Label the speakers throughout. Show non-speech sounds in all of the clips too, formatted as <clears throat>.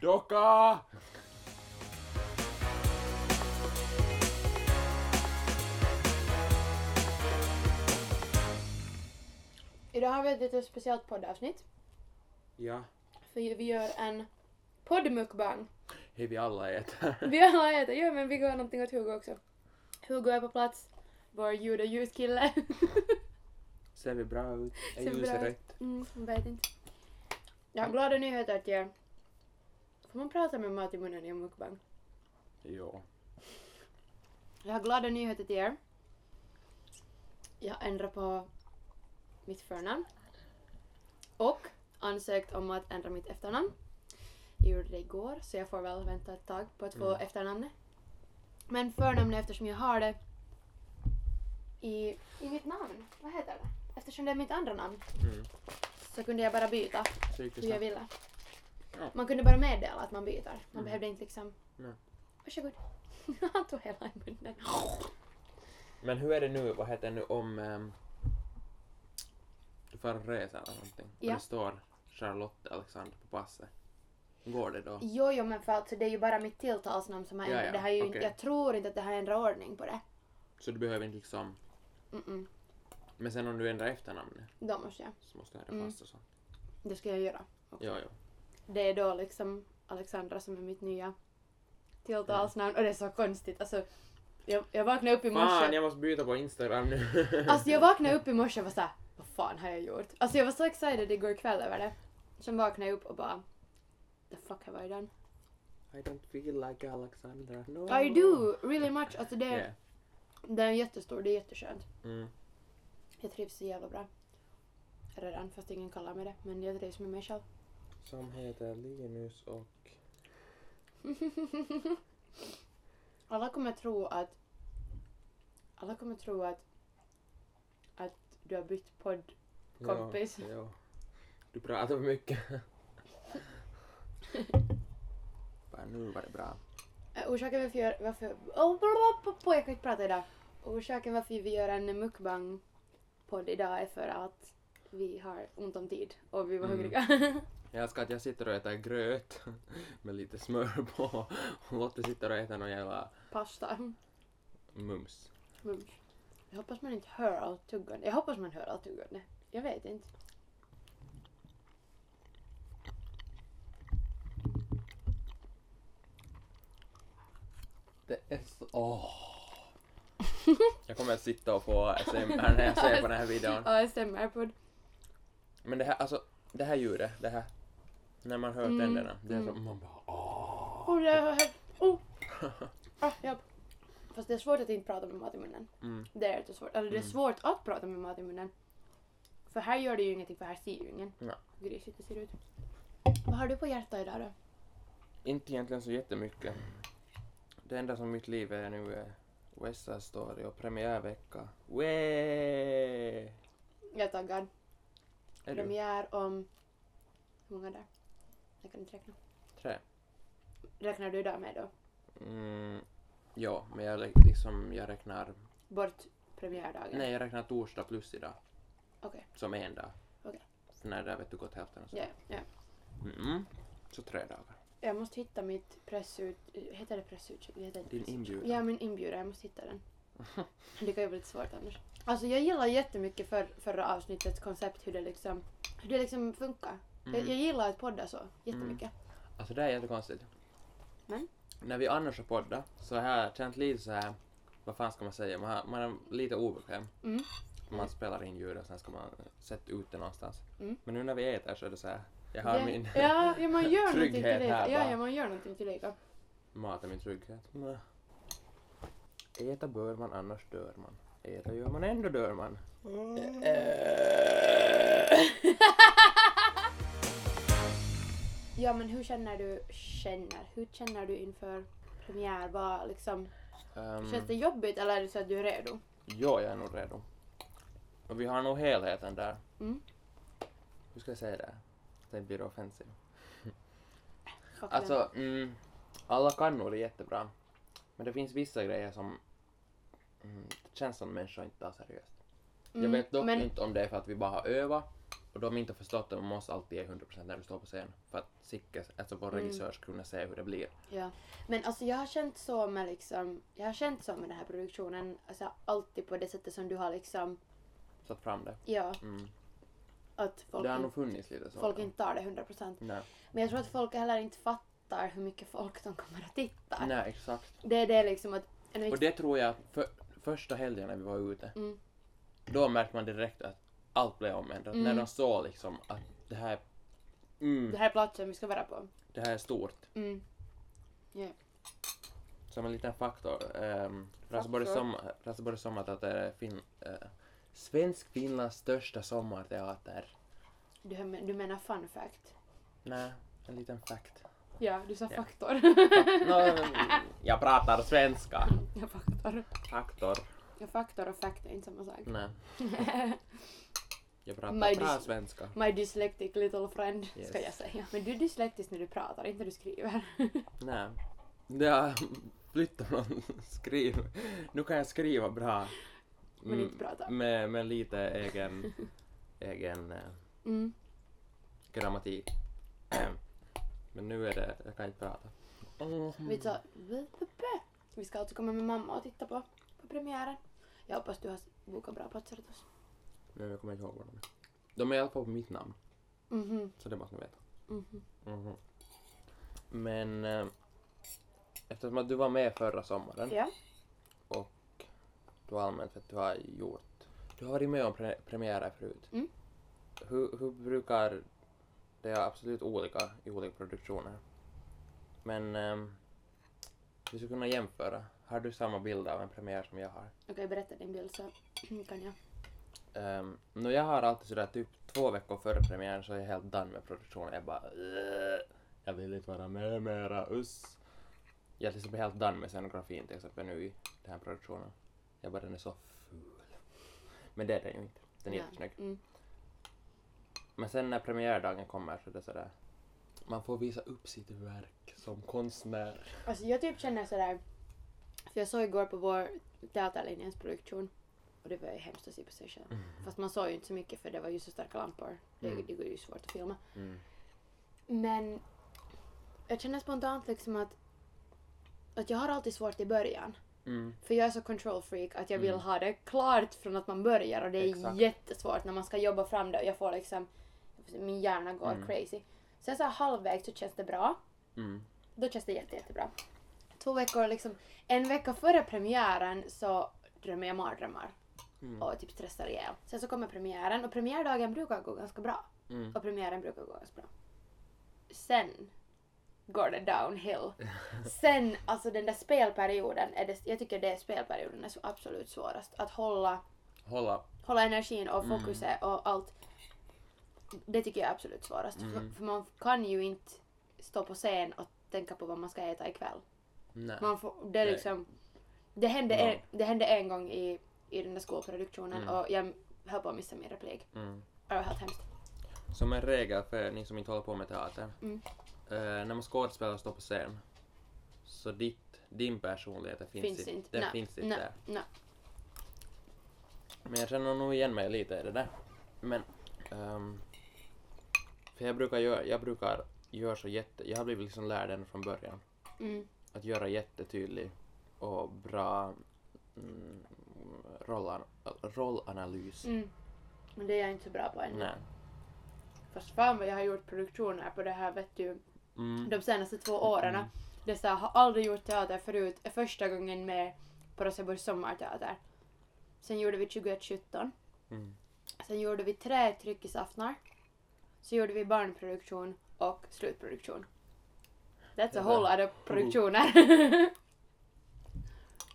Speaker 1: Docka!
Speaker 2: Idag har vi ett lite speciellt poddavsnitt.
Speaker 1: Ja,
Speaker 2: För vi gör en poddmukbang.
Speaker 1: hej vi alla
Speaker 2: <laughs>
Speaker 1: äter.
Speaker 2: Vi alla äter, ja men vi gav någonting åt Hugo också. Hugo är på plats, vår ljud och <laughs> ljuskille.
Speaker 1: Ser vi bra ut? Är
Speaker 2: Ser vi
Speaker 1: ljuset
Speaker 2: bra ut?
Speaker 1: rätt?
Speaker 2: Mm, jag vet inte. Jag har glada nyheter att ge. Får man prata med mat i munnen i en mukbang?
Speaker 1: Ja.
Speaker 2: Jag har glada nyheter till er. Jag ändrar på mitt förnamn. Och ansökt om att ändra mitt efternamn. Jag gjorde det igår, så jag får väl vänta ett tag på att få
Speaker 1: Mm.
Speaker 2: efternamnet. Men förnamnet, eftersom jag har det i, i mitt namn, vad heter det? Eftersom det är mitt andra namn
Speaker 1: Mm.
Speaker 2: så kunde jag bara byta
Speaker 1: Så gick det
Speaker 2: hur jag
Speaker 1: snabbt.
Speaker 2: ville.
Speaker 1: Ja.
Speaker 2: Man kunde bara meddela att man byter. Man
Speaker 1: Mm.
Speaker 2: behövde inte liksom...
Speaker 1: Nej.
Speaker 2: Varsågod. <laughs> Han tog hela i munnen.
Speaker 1: Men hur är det nu, vad heter det nu om... ehm, du får en resa eller någonting.
Speaker 2: Ja.
Speaker 1: Och det står Charlotte Alexander på passet. Går det då?
Speaker 2: Jo, jo, men för alltså, det är ju bara mitt tilltalsnamn som har
Speaker 1: Ja,
Speaker 2: ändrat.
Speaker 1: ja,
Speaker 2: det här är ju
Speaker 1: okej.
Speaker 2: inte, jag tror inte att det här ändrar ordning på det.
Speaker 1: Så du behöver inte liksom...
Speaker 2: Mm-mm.
Speaker 1: Men sen om du ändrar efternamnet
Speaker 2: Då måste jag.
Speaker 1: så måste du ändra
Speaker 2: Mm.
Speaker 1: pass och sånt.
Speaker 2: Det ska jag göra. också.
Speaker 1: Ja, ja.
Speaker 2: Det är då liksom Alexandra som är mitt nya tilltalsnamn. Och det är så konstigt. Alltså, jag, jag vaknade upp i morse.
Speaker 1: Fan, jag måste byta på Instagram nu.
Speaker 2: <laughs> Alltså jag vaknade upp i morse och var såhär, vad fan har jag gjort? Alltså jag var så excited igår kväll över det. Sen vaknade jag upp och bara, the fuck have I done?
Speaker 1: I don't feel like Alexandra. No.
Speaker 2: I do, really much. Alltså det,
Speaker 1: Yeah.
Speaker 2: det är jättestor, det är jätteskönt.
Speaker 1: Mm.
Speaker 2: Jag trivs så jävla bra. Redan, fast ingen kallar mig det. Men jag trivs med mig själv. <laughs>
Speaker 1: Som heter Linus och...
Speaker 2: Alla kommer tro att... Alla kommer tro att... Att du har bytt podd. Kompis.
Speaker 1: Ja, ja. Du pratar för
Speaker 2: <laughs>
Speaker 1: mycket. Bara nu var det bra.
Speaker 2: Eh, Orsaken varför jag... Varför, oh, blablabla, blablabla, jag kan inte prata idag. Orsaken varför vi gör en mukbang-podd idag är för att vi har ont om tid och vi var
Speaker 1: Mm.
Speaker 2: hungriga. <laughs>
Speaker 1: Jag älskar att jag sitter och äter gröt <laughs> med lite smör på och Lotte sitter och äter någon jävla
Speaker 2: Pasta.
Speaker 1: mums.
Speaker 2: Mums. Jag hoppas man inte hör allt tuggande. Jag hoppas man hör allt tuggande. Jag vet inte.
Speaker 1: Det är så...
Speaker 2: <laughs>
Speaker 1: Åh. Jag kommer att sitta och få SMR när jag ser på
Speaker 2: <laughs>
Speaker 1: den här videon.
Speaker 2: ASMR-podd.
Speaker 1: Men det här, alltså, det här ljudet, det här. När man hör
Speaker 2: Mm,
Speaker 1: tänderna, det är så...
Speaker 2: mm.
Speaker 1: Man bara åh.
Speaker 2: Oh, det har hänt.
Speaker 1: <laughs>
Speaker 2: Oh. Ah, ja. Fast det är svårt att inte prata med mat i munnen.
Speaker 1: Mm.
Speaker 2: Det är jättesvårt. Eller det är
Speaker 1: Mm.
Speaker 2: svårt att prata med mat i munnen. För här gör det ju ingenting för här ser ju ingen.
Speaker 1: Ja.
Speaker 2: Hur grisigt det ser ut. Vad har du på hjärtat idag då?
Speaker 1: Inte egentligen så jättemycket. Det enda som mitt liv är nu är West Side Story och premiärvecka. Wee!
Speaker 2: Jag är taggad.
Speaker 1: Är du?
Speaker 2: Premiär om... Hur många dagar? Jag kan inte räkna.
Speaker 1: Tre?
Speaker 2: Räknar du idag med då?
Speaker 1: Mm, ja, men jag, lä- liksom, jag räknar...
Speaker 2: Bort premiärdagen?
Speaker 1: Nej, jag räknar torsdag plus idag.
Speaker 2: Okej.
Speaker 1: Som en dag.
Speaker 2: Okej.
Speaker 1: För när det har, vet du gått hälften och så.
Speaker 2: Ja, ja.
Speaker 1: Mm, så tre dagar.
Speaker 2: Jag måste hitta mitt pressut... Heter det pressut? Det heter inte
Speaker 1: Din
Speaker 2: pressut-
Speaker 1: inbjudan.
Speaker 2: Ja, min inbjudan. Jag måste hitta
Speaker 1: <laughs>
Speaker 2: den. Det kan ju bli lite svårt annars. Alltså jag gillar jättemycket för, förra avsnittets koncept, hur det liksom, hur det liksom funkar. Jag,
Speaker 1: Mm.
Speaker 2: jag gillar att podda så jättemycket.
Speaker 1: Alltså det här är jättekonstigt.
Speaker 2: Men?
Speaker 1: När vi annars har poddat så har jag känt lite så här... Vad fan ska man säga? Man, har, man är lite obekväm.
Speaker 2: Mm.
Speaker 1: Man spelar in ljud och sen ska man sätta ut det någonstans.
Speaker 2: Mm.
Speaker 1: Men nu när vi äter så är det så här. Jag har
Speaker 2: Det-
Speaker 1: min
Speaker 2: ja, ja, man gör någonting
Speaker 1: <laughs> trygghet
Speaker 2: till
Speaker 1: här
Speaker 2: Ja,
Speaker 1: bara.
Speaker 2: ja, man gör någonting till
Speaker 1: <laughs> mat är min trygghet. Mm. Äta bör man, annars dör man. Äta gör man, ändå dör man.
Speaker 2: Ja, men hur känner du, känner, hur känner du inför premiär? Vad liksom,
Speaker 1: Um,
Speaker 2: känns det jobbigt eller är det så att du är redo?
Speaker 1: ja, jag är nog redo. Och vi har nog helheten där.
Speaker 2: Mm.
Speaker 1: Hur ska jag säga det? Det blir offensivt.
Speaker 2: Fuck them.
Speaker 1: Alltså, mm, alla kan nog det jättebra. Men det finns vissa grejer som mm, det känns som människor inte tar seriöst.
Speaker 2: Mm,
Speaker 1: jag vet dock
Speaker 2: men-
Speaker 1: inte om det är för att vi bara har övat och de inte har förstått att man måste alltid ge 100% när du står på scen. För att Sicke, alltså vår
Speaker 2: Mm.
Speaker 1: regissör, ska kunna se hur det blir.
Speaker 2: Ja. Men alltså jag har känt så med liksom, jag har känt så med den här produktionen, alltså alltid på det sättet som du har liksom,
Speaker 1: Satt fram det.
Speaker 2: ja,
Speaker 1: Mm.
Speaker 2: att folk,
Speaker 1: det har nog
Speaker 2: inte,
Speaker 1: funnits lite så.
Speaker 2: folk inte tar det 100%.
Speaker 1: Nej.
Speaker 2: Men jag tror att folk heller inte fattar hur mycket folk som kommer att titta.
Speaker 1: Nej, exakt.
Speaker 2: Det är det liksom att,
Speaker 1: Och det tror jag, för, första helgen när vi var ute,
Speaker 2: Mm.
Speaker 1: då märkte man direkt att allt blev omändrat.
Speaker 2: Mm.
Speaker 1: När de såg liksom att det här, mm,
Speaker 2: det här är platsen vi ska vara på.
Speaker 1: det här är stort.
Speaker 2: Mm.
Speaker 1: Som en liten faktor. Um, Raseborgs
Speaker 2: Faktor.
Speaker 1: sommar, Raseborgs sommarteater är fin, eh, svensk Finlands största sommarteater.
Speaker 2: Du, hem- du menar fun fact?
Speaker 1: Nej, en liten
Speaker 2: <laughs>
Speaker 1: fakt.
Speaker 2: Ja, du sa
Speaker 1: Ja.
Speaker 2: faktor. <laughs>
Speaker 1: Nå, jag pratar svenska.
Speaker 2: ja, faktor.
Speaker 1: Faktor.
Speaker 2: Ja, faktor och fact är inte samma sak.
Speaker 1: Nej, jag pratar
Speaker 2: My
Speaker 1: bra
Speaker 2: dis-
Speaker 1: svenska.
Speaker 2: My dyslectic little friend, ska
Speaker 1: Yes.
Speaker 2: jag säga. Men du är dyslektisk när du pratar, inte när du skriver.
Speaker 1: Nej. Det har flyttat från skriv. Nu kan jag skriva bra.
Speaker 2: Men
Speaker 1: Mm,
Speaker 2: inte prata.
Speaker 1: Med, med lite egen, egen eh,
Speaker 2: Mm.
Speaker 1: grammatik. <clears throat> Men nu är det, jag kan inte prata. Mm.
Speaker 2: Vi, tar, vi ska alltså komma med mamma och titta på, på premiären. Jag hoppas du har bokat bra platser åt oss.
Speaker 1: Men jag kommer inte ihåg vad de är. De är i alla fall på mitt namn,
Speaker 2: Mhm,
Speaker 1: så det måste ni veta.
Speaker 2: mhm.
Speaker 1: Mhm. Men eh, eftersom att du var med förra sommaren
Speaker 2: Ja.
Speaker 1: och du har allmänt för att du har gjort, du har varit med om pre- premiärer förut.
Speaker 2: Mm.
Speaker 1: Hur, hur brukar, det är absolut olika i olika produktioner, men ehm, du skulle kunna jämföra. Har du samma bild av en premiär som jag har?
Speaker 2: Okej, berätta din bild så <clears throat> kan jag.
Speaker 1: Um, no, jag har alltid sådär typ två veckor före premiären så är jag helt done med produktionen. Jag bara "Ugh, Jag vill inte vara med mera, uss. Jag är liksom helt done med scenografin till exempel nu i den här produktionen. Jag bara den är så ful. Men det är den ju inte. Den är
Speaker 2: Nej.
Speaker 1: jättesnygg.
Speaker 2: Mm.
Speaker 1: Men sen när premiärdagen kommer så är det sådär. Man får visa upp sitt verk som konstnär.
Speaker 2: Alltså jag typ känner sådär, för jag såg igår på vår teaterlinjens produktion och det var ju hemskt att se på sig själv. Fast man såg ju inte så mycket för det var ju så starka lampor. Det,
Speaker 1: Mm.
Speaker 2: det går ju svårt att filma.
Speaker 1: Mm.
Speaker 2: Men jag känner spontant liksom att, att jag har alltid svårt i början.
Speaker 1: Mm.
Speaker 2: För jag är så control freak att jag vill
Speaker 1: Mm.
Speaker 2: ha det klart från att man börjar och det är
Speaker 1: Exakt.
Speaker 2: jättesvårt när man ska jobba fram det och jag får liksom, min hjärna går
Speaker 1: Mm.
Speaker 2: crazy. Sen så här halvvägs så känns det bra.
Speaker 1: Mm.
Speaker 2: Då känns det jätte, jättebra. Två veckor liksom, en vecka före premiären så drömmer jag mardrömmar
Speaker 1: Mm.
Speaker 2: och typ stressar ihjäl. Sen så kommer premiären och premiärdagen brukar gå ganska bra.
Speaker 1: Mm.
Speaker 2: Och premiären brukar gå ganska bra. Sen går det
Speaker 1: <laughs>
Speaker 2: downhill. Sen, alltså den där spelperioden, är det, jag tycker det är spelperioden är så absolut svårast. Att hålla,
Speaker 1: Hålla.
Speaker 2: hålla energin och
Speaker 1: Mm.
Speaker 2: fokuset och allt. Det tycker jag är absolut svårast.
Speaker 1: Mm.
Speaker 2: För, för man kan ju inte stå på scen och tänka på vad man ska äta ikväll.
Speaker 1: Nej.
Speaker 2: Man får, det är
Speaker 1: Nej.
Speaker 2: liksom... Det hände,
Speaker 1: Ja.
Speaker 2: en, det hände en gång i, i den där skolproduktionen
Speaker 1: Mm.
Speaker 2: och jag höll på att missa min replik.
Speaker 1: Mm.
Speaker 2: Det var helt hemskt.
Speaker 1: Som en regel för ni som inte håller på med teater.
Speaker 2: Mm.
Speaker 1: Eh, när man skådespelar och står på scen, så ditt, din personlighet den finns,
Speaker 2: Finns
Speaker 1: inte.
Speaker 2: inte.
Speaker 1: Den
Speaker 2: Nej.
Speaker 1: finns inte
Speaker 2: Nej.
Speaker 1: där.
Speaker 2: Nej.
Speaker 1: Men jag känner nog igen mig lite i det där. Men, ehm, för jag brukar göra, jag brukar göra så jätte, jag har blivit liksom lärd ända från början.
Speaker 2: Mm.
Speaker 1: Att göra jättetydlig och bra mm, rollan, rollanalys.
Speaker 2: Mm. Men det är jag inte så bra på ännu.
Speaker 1: Nej.
Speaker 2: Fast fan vad jag har gjort produktioner på det här vet du,
Speaker 1: Mm.
Speaker 2: de senaste två åren.
Speaker 1: Mm.
Speaker 2: Det är så här, har aldrig gjort teater förut, är första gången med på Roseborgs sommarteater. Sen gjorde vi 2017,
Speaker 1: Mm.
Speaker 2: sen gjorde vi tre tryckisaftnar. Så gjorde vi barnproduktion och slutproduktion. That's a whole other produktioner.
Speaker 1: Mm.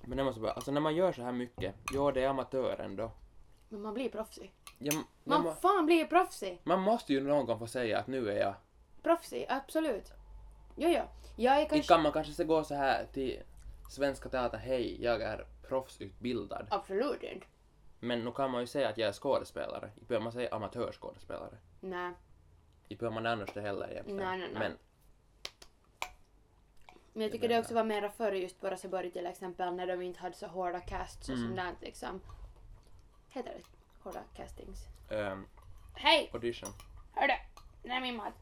Speaker 1: Men jag måste bara, alltså när man gör så här mycket, ja det är amatören då.
Speaker 2: <laughs> Men man blir proffsig.
Speaker 1: Jag, jag,
Speaker 2: Man
Speaker 1: må-
Speaker 2: fan blir proffsig!
Speaker 1: Man måste ju någon gång få säga att nu är jag...
Speaker 2: Proffsig, absolut. Jo, jo. Jag är
Speaker 1: Kanske...
Speaker 2: kanske...
Speaker 1: Kan man kanske se- gå så här till Svenska Teatern, hej, jag är proffsutbildad.
Speaker 2: Absolut inte.
Speaker 1: Men nu kan man ju säga att jag är skådespelare. Inte behöver man säga amatörskådespelare.
Speaker 2: Nej.
Speaker 1: Inte behöver man annars det heller egentligen.
Speaker 2: Nej, nej, nej.
Speaker 1: Men,
Speaker 2: Men
Speaker 1: Det
Speaker 2: jag tycker
Speaker 1: menar
Speaker 2: det
Speaker 1: jag.
Speaker 2: också var mera förr just på Raseborg till exempel när de inte hade så hårda casts och
Speaker 1: Mm.
Speaker 2: sånt där liksom. Heter det hårda castings?
Speaker 1: ehm,
Speaker 2: Hej!
Speaker 1: Audition.
Speaker 2: Hörde! Där är min mat.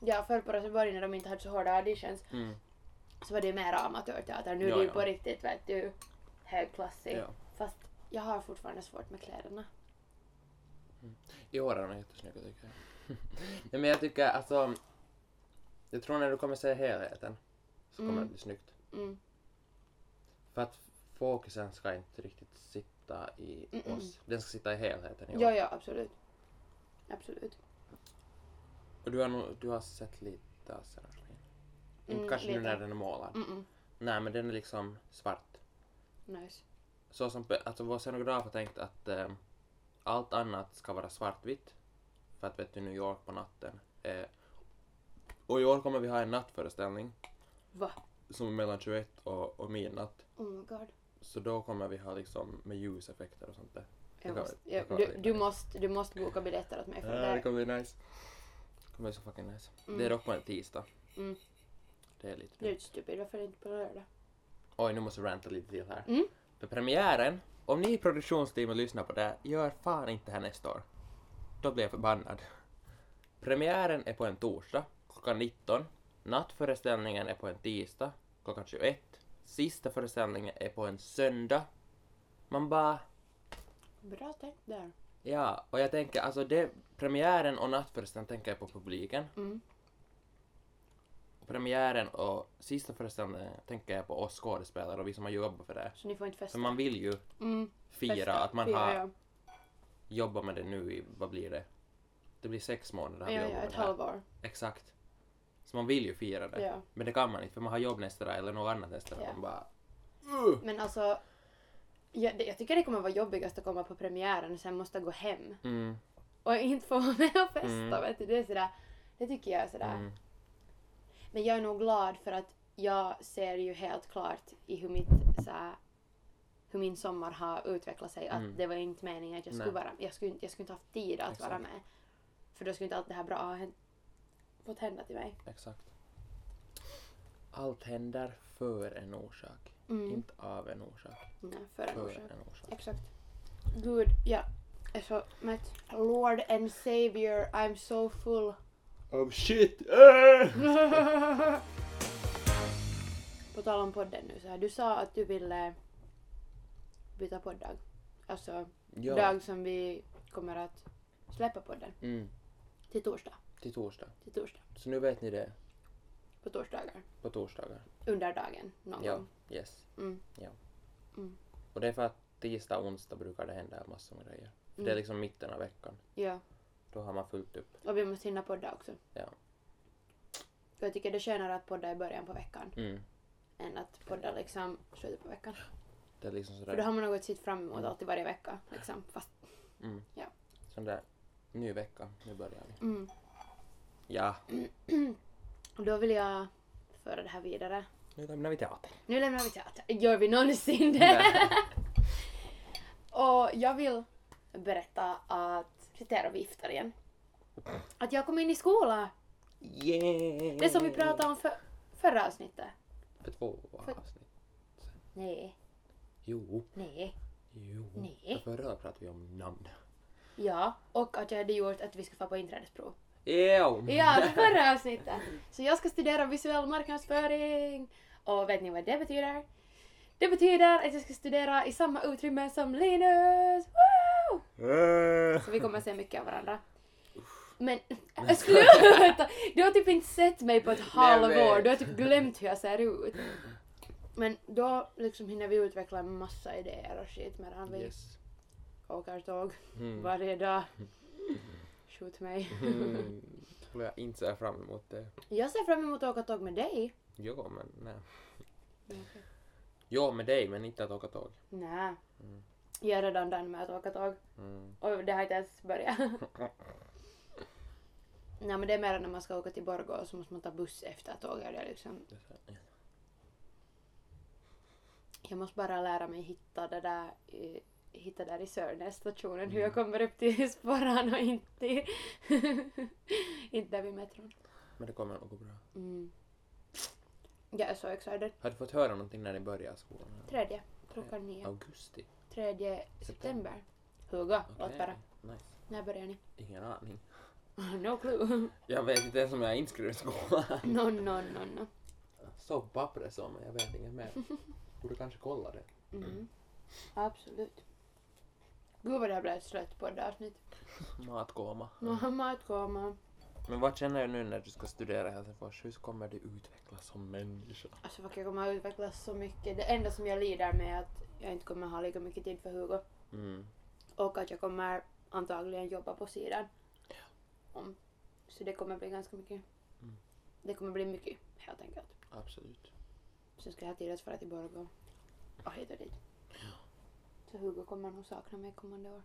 Speaker 2: Ja, förr på Rosenborg när de inte hade så hårda auditions
Speaker 1: Mm.
Speaker 2: så var det mer amatörteater. Nu
Speaker 1: Ja,
Speaker 2: är det ju
Speaker 1: ja.
Speaker 2: på riktigt vet du högklassig.
Speaker 1: Ja.
Speaker 2: Fast jag har fortfarande svårt med kläderna.
Speaker 1: I år är de jättesnygga tycker jag. <laughs> Nej men jag tycker alltså, jag tror när du kommer se helheten så kommer
Speaker 2: Mm.
Speaker 1: det bli snyggt.
Speaker 2: Mm.
Speaker 1: För att fokusen ska inte riktigt sitta i
Speaker 2: Mm-mm.
Speaker 1: oss, den ska sitta i helheten i år.
Speaker 2: Ja, ja, absolut. Absolut.
Speaker 1: Och du har, nog, du har sett lite av Sarah Green. Inte
Speaker 2: Mm,
Speaker 1: kanske nu
Speaker 2: lite.
Speaker 1: när den är målad.
Speaker 2: Mm -mm.
Speaker 1: Nej men den är liksom svart.
Speaker 2: Nice.
Speaker 1: Så som pe- alltså, vår scenograf har tänkt att eh, allt annat ska vara svartvitt. För att vet du, New York på natten. Eh, och i år kommer vi ha en nattföreställning
Speaker 2: Va?
Speaker 1: som är mellan 21 och, och midnatt.
Speaker 2: Oh my god.
Speaker 1: Så då kommer vi ha liksom med ljuseffekter och sånt där.
Speaker 2: Jag
Speaker 1: Det
Speaker 2: måste,
Speaker 1: kan-
Speaker 2: jag,
Speaker 1: det kan
Speaker 2: du,
Speaker 1: vara
Speaker 2: du,
Speaker 1: nice.
Speaker 2: måste, du måste boka biljetter åt mig för det
Speaker 1: Ja, Ah, det
Speaker 2: där.
Speaker 1: kommer bli nice. Det kommer bli så fucking nice.
Speaker 2: Mm.
Speaker 1: Det är dock på en tisdag.
Speaker 2: Mm.
Speaker 1: Det är lite
Speaker 2: Det typ är lite stupid, varför är det inte på lördag?
Speaker 1: Oj, nu måste jag ranta lite till här.
Speaker 2: Mm.
Speaker 1: För premiären, om ni i produktionsteamet lyssnar på det här, gör fan inte det här nästa år. Då blir jag förbannad. Premiären är på en torsdag klockan 19. Nattföreställningen är på en tisdag klockan 21. Sista föreställningen är på en söndag. Man bara,
Speaker 2: Bra tänkt där.
Speaker 1: ja. Och jag tänker, alltså det, premiären och nattföreställningen tänker jag på publiken.
Speaker 2: Mm.
Speaker 1: Och premiären och sista föreställningen tänker jag på oss skådespelare och vi som har jobbat för det.
Speaker 2: Så ni får inte
Speaker 1: För
Speaker 2: festa.
Speaker 1: man vill ju
Speaker 2: Mm,
Speaker 1: fira
Speaker 2: festa.
Speaker 1: att man
Speaker 2: Fira,
Speaker 1: har
Speaker 2: ja.
Speaker 1: jobbar med det nu i, vad blir det? Det blir sex månader
Speaker 2: Ja,
Speaker 1: vi
Speaker 2: ja,
Speaker 1: jobbar med
Speaker 2: ett
Speaker 1: det här.
Speaker 2: halvår.
Speaker 1: Exakt. Så man vill ju fira det.
Speaker 2: Ja.
Speaker 1: Men det kan man inte för man har jobb nästa dag eller något annat nästa dag.
Speaker 2: Ja.
Speaker 1: Man bara... "Ugh."
Speaker 2: Men alltså, jag, det- jag tycker det kommer vara jobbigast att komma på premiären och sen måste gå hem.
Speaker 1: Mm,
Speaker 2: Och inte få vara med och festa,
Speaker 1: Mm.
Speaker 2: vet du. Det är sådär, det tycker jag är sådär.
Speaker 1: mm,
Speaker 2: Men jag är nog glad för att jag ser ju helt klart i hur mitt såhär, hur min sommar har utvecklat sig att
Speaker 1: Mm.
Speaker 2: det var inte meningen att jag skulle
Speaker 1: Nej.
Speaker 2: vara jag skulle, inte- jag skulle inte haft tid att vara
Speaker 1: Exakt.
Speaker 2: med. För då skulle inte allt det här bra ha hänt- fått hända till mig.
Speaker 1: exakt. Allt händer för en orsak.
Speaker 2: Mm.
Speaker 1: Inte av en orsak.
Speaker 2: Nej, för en
Speaker 1: För
Speaker 2: orsak.
Speaker 1: en orsak.
Speaker 2: Exakt. Gud, jag är så mätt. Lord and savior, I'm so full.
Speaker 1: Oh shit! Äh!
Speaker 2: På tal om podden nu så här, du sa att du ville byta poddag. Alltså
Speaker 1: Ja.
Speaker 2: dag som vi kommer att släppa podden.
Speaker 1: Mm,
Speaker 2: Till torsdag.
Speaker 1: till torsdag.
Speaker 2: Till torsdag.
Speaker 1: Så nu vet ni det.
Speaker 2: På torsdagar.
Speaker 1: På torsdagar.
Speaker 2: Under dagen någon
Speaker 1: Ja.
Speaker 2: gång.
Speaker 1: Yes.
Speaker 2: Mm.
Speaker 1: Och det är för att tisdag och onsdag brukar det hända massor med grejer. För Det är
Speaker 2: Mm.
Speaker 1: liksom mitten av veckan.
Speaker 2: Ja.
Speaker 1: Då har man fullt upp.
Speaker 2: Och vi måste hinna podda också.
Speaker 1: Ja.
Speaker 2: För jag tycker det är skönare att podda i början på veckan
Speaker 1: Mm.
Speaker 2: än att podda liksom slutet på veckan.
Speaker 1: Det är liksom
Speaker 2: För då
Speaker 1: sådär,
Speaker 2: har man något att se fram emot alltid varje vecka. Liksom. Fast,
Speaker 1: mm,
Speaker 2: Ja.
Speaker 1: sån där, ny vecka, nu börjar vi.
Speaker 2: mm. <clears throat>
Speaker 1: Ja,
Speaker 2: Och Då vill jag föra det här vidare.
Speaker 1: nu lämnar vi
Speaker 2: <laughs>
Speaker 1: teatern.
Speaker 2: Nu lämnar vi teatern. Gör vi någonsin
Speaker 1: <laughs>
Speaker 2: det? <laughs> Och jag vill berätta att kriterier viftar igen. Att jag kom in i skolan.
Speaker 1: Yeah!
Speaker 2: Det som vi pratade om för, förra avsnittet.
Speaker 1: För två
Speaker 2: För-
Speaker 1: avsnitt.
Speaker 2: Nej,
Speaker 1: Jo,
Speaker 2: nej,
Speaker 1: jo.
Speaker 2: Nej.
Speaker 1: För förra pratade vi om namn.
Speaker 2: ja. Och att jag hade gjort att vi skulle få på inträdesprov.
Speaker 1: Ew!
Speaker 2: Ja,
Speaker 1: <laughs>
Speaker 2: det <laughs> förra avsnittet. Så jag ska studera visuell marknadsföring. Och vet ni vad det betyder? Det betyder att jag ska studera i samma utrymme som Linus. Woo!
Speaker 1: Äh.
Speaker 2: Så vi kommer se mycket av varandra. Men äh, sluta! Du har typ inte sett mig på ett halvår.
Speaker 1: men-
Speaker 2: Du har typ glömt hur jag ser ut. Men då liksom hinner vi utveckla en massa idéer och shit medan vi
Speaker 1: Yes.
Speaker 2: åker tåg
Speaker 1: <laughs> Mm.
Speaker 2: varje dag. Skjut mig.
Speaker 1: Mm. Tror jag inte ser fram emot det.
Speaker 2: Jag ser fram emot att åka tåg med dig.
Speaker 1: Jo, men nej. Jo, med dig, men inte att åka tåg.
Speaker 2: Nej. Jag är redan done med att åka tåg.
Speaker 1: Mm.
Speaker 2: Och det har inte
Speaker 1: <laughs>
Speaker 2: ens börjat. Nej men det är mer när man ska åka till Borgå så måste man ta buss efter tåget. Det är liksom
Speaker 1: Det är så här,
Speaker 2: Jag måste bara lära mig hitta det där, eh, hitta där i Sörnäs stationen, hur jag kommer upp till sporran och inte, i- <laughs> inte där vid metron.
Speaker 1: Men det kommer nog gå bra.
Speaker 2: Mm. Jag är så excited.
Speaker 1: Har du fått höra någonting när ni börjar skolan?
Speaker 2: Tredje, klockan nio.
Speaker 1: Augusti?
Speaker 2: Tredje september. Hugo, låt bara.
Speaker 1: Okej. Nice.
Speaker 2: När börjar ni?
Speaker 1: Ingen aning.
Speaker 2: <laughs> no clue.
Speaker 1: Jag vet inte ens om jag är inskriven i skolan.
Speaker 2: <clears throat> no, no, no, no.
Speaker 1: Såg på pappret så, men jag vet inget mer. Borde kanske kolla det.
Speaker 2: Mm. Absolut. Gud vad det här blev ett slött poddavsnitt.
Speaker 1: Matkoma.
Speaker 2: Mm. Matkoma.
Speaker 1: Men vad känner du nu när du ska studera i Helsingfors? Hur kommer du utvecklas som människa?
Speaker 2: Alltså vad kan jag kommer att utvecklas så mycket. Det enda som jag lider med är att jag inte kommer ha lika mycket tid för Hugo.
Speaker 1: Mm.
Speaker 2: Och att jag kommer antagligen jobba på sidan. Om. Så det kommer bli ganska mycket.
Speaker 1: Mm.
Speaker 2: Det kommer bli mycket helt enkelt.
Speaker 1: Absolut.
Speaker 2: Sen ska jag ha tid att fara till Borgå och hit och dit. Så Hugo kommer nog sakna mig kommande år.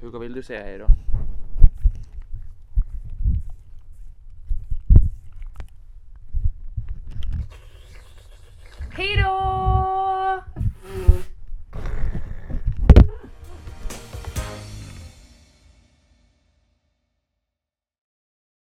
Speaker 1: Hugo, vill du säga hej då?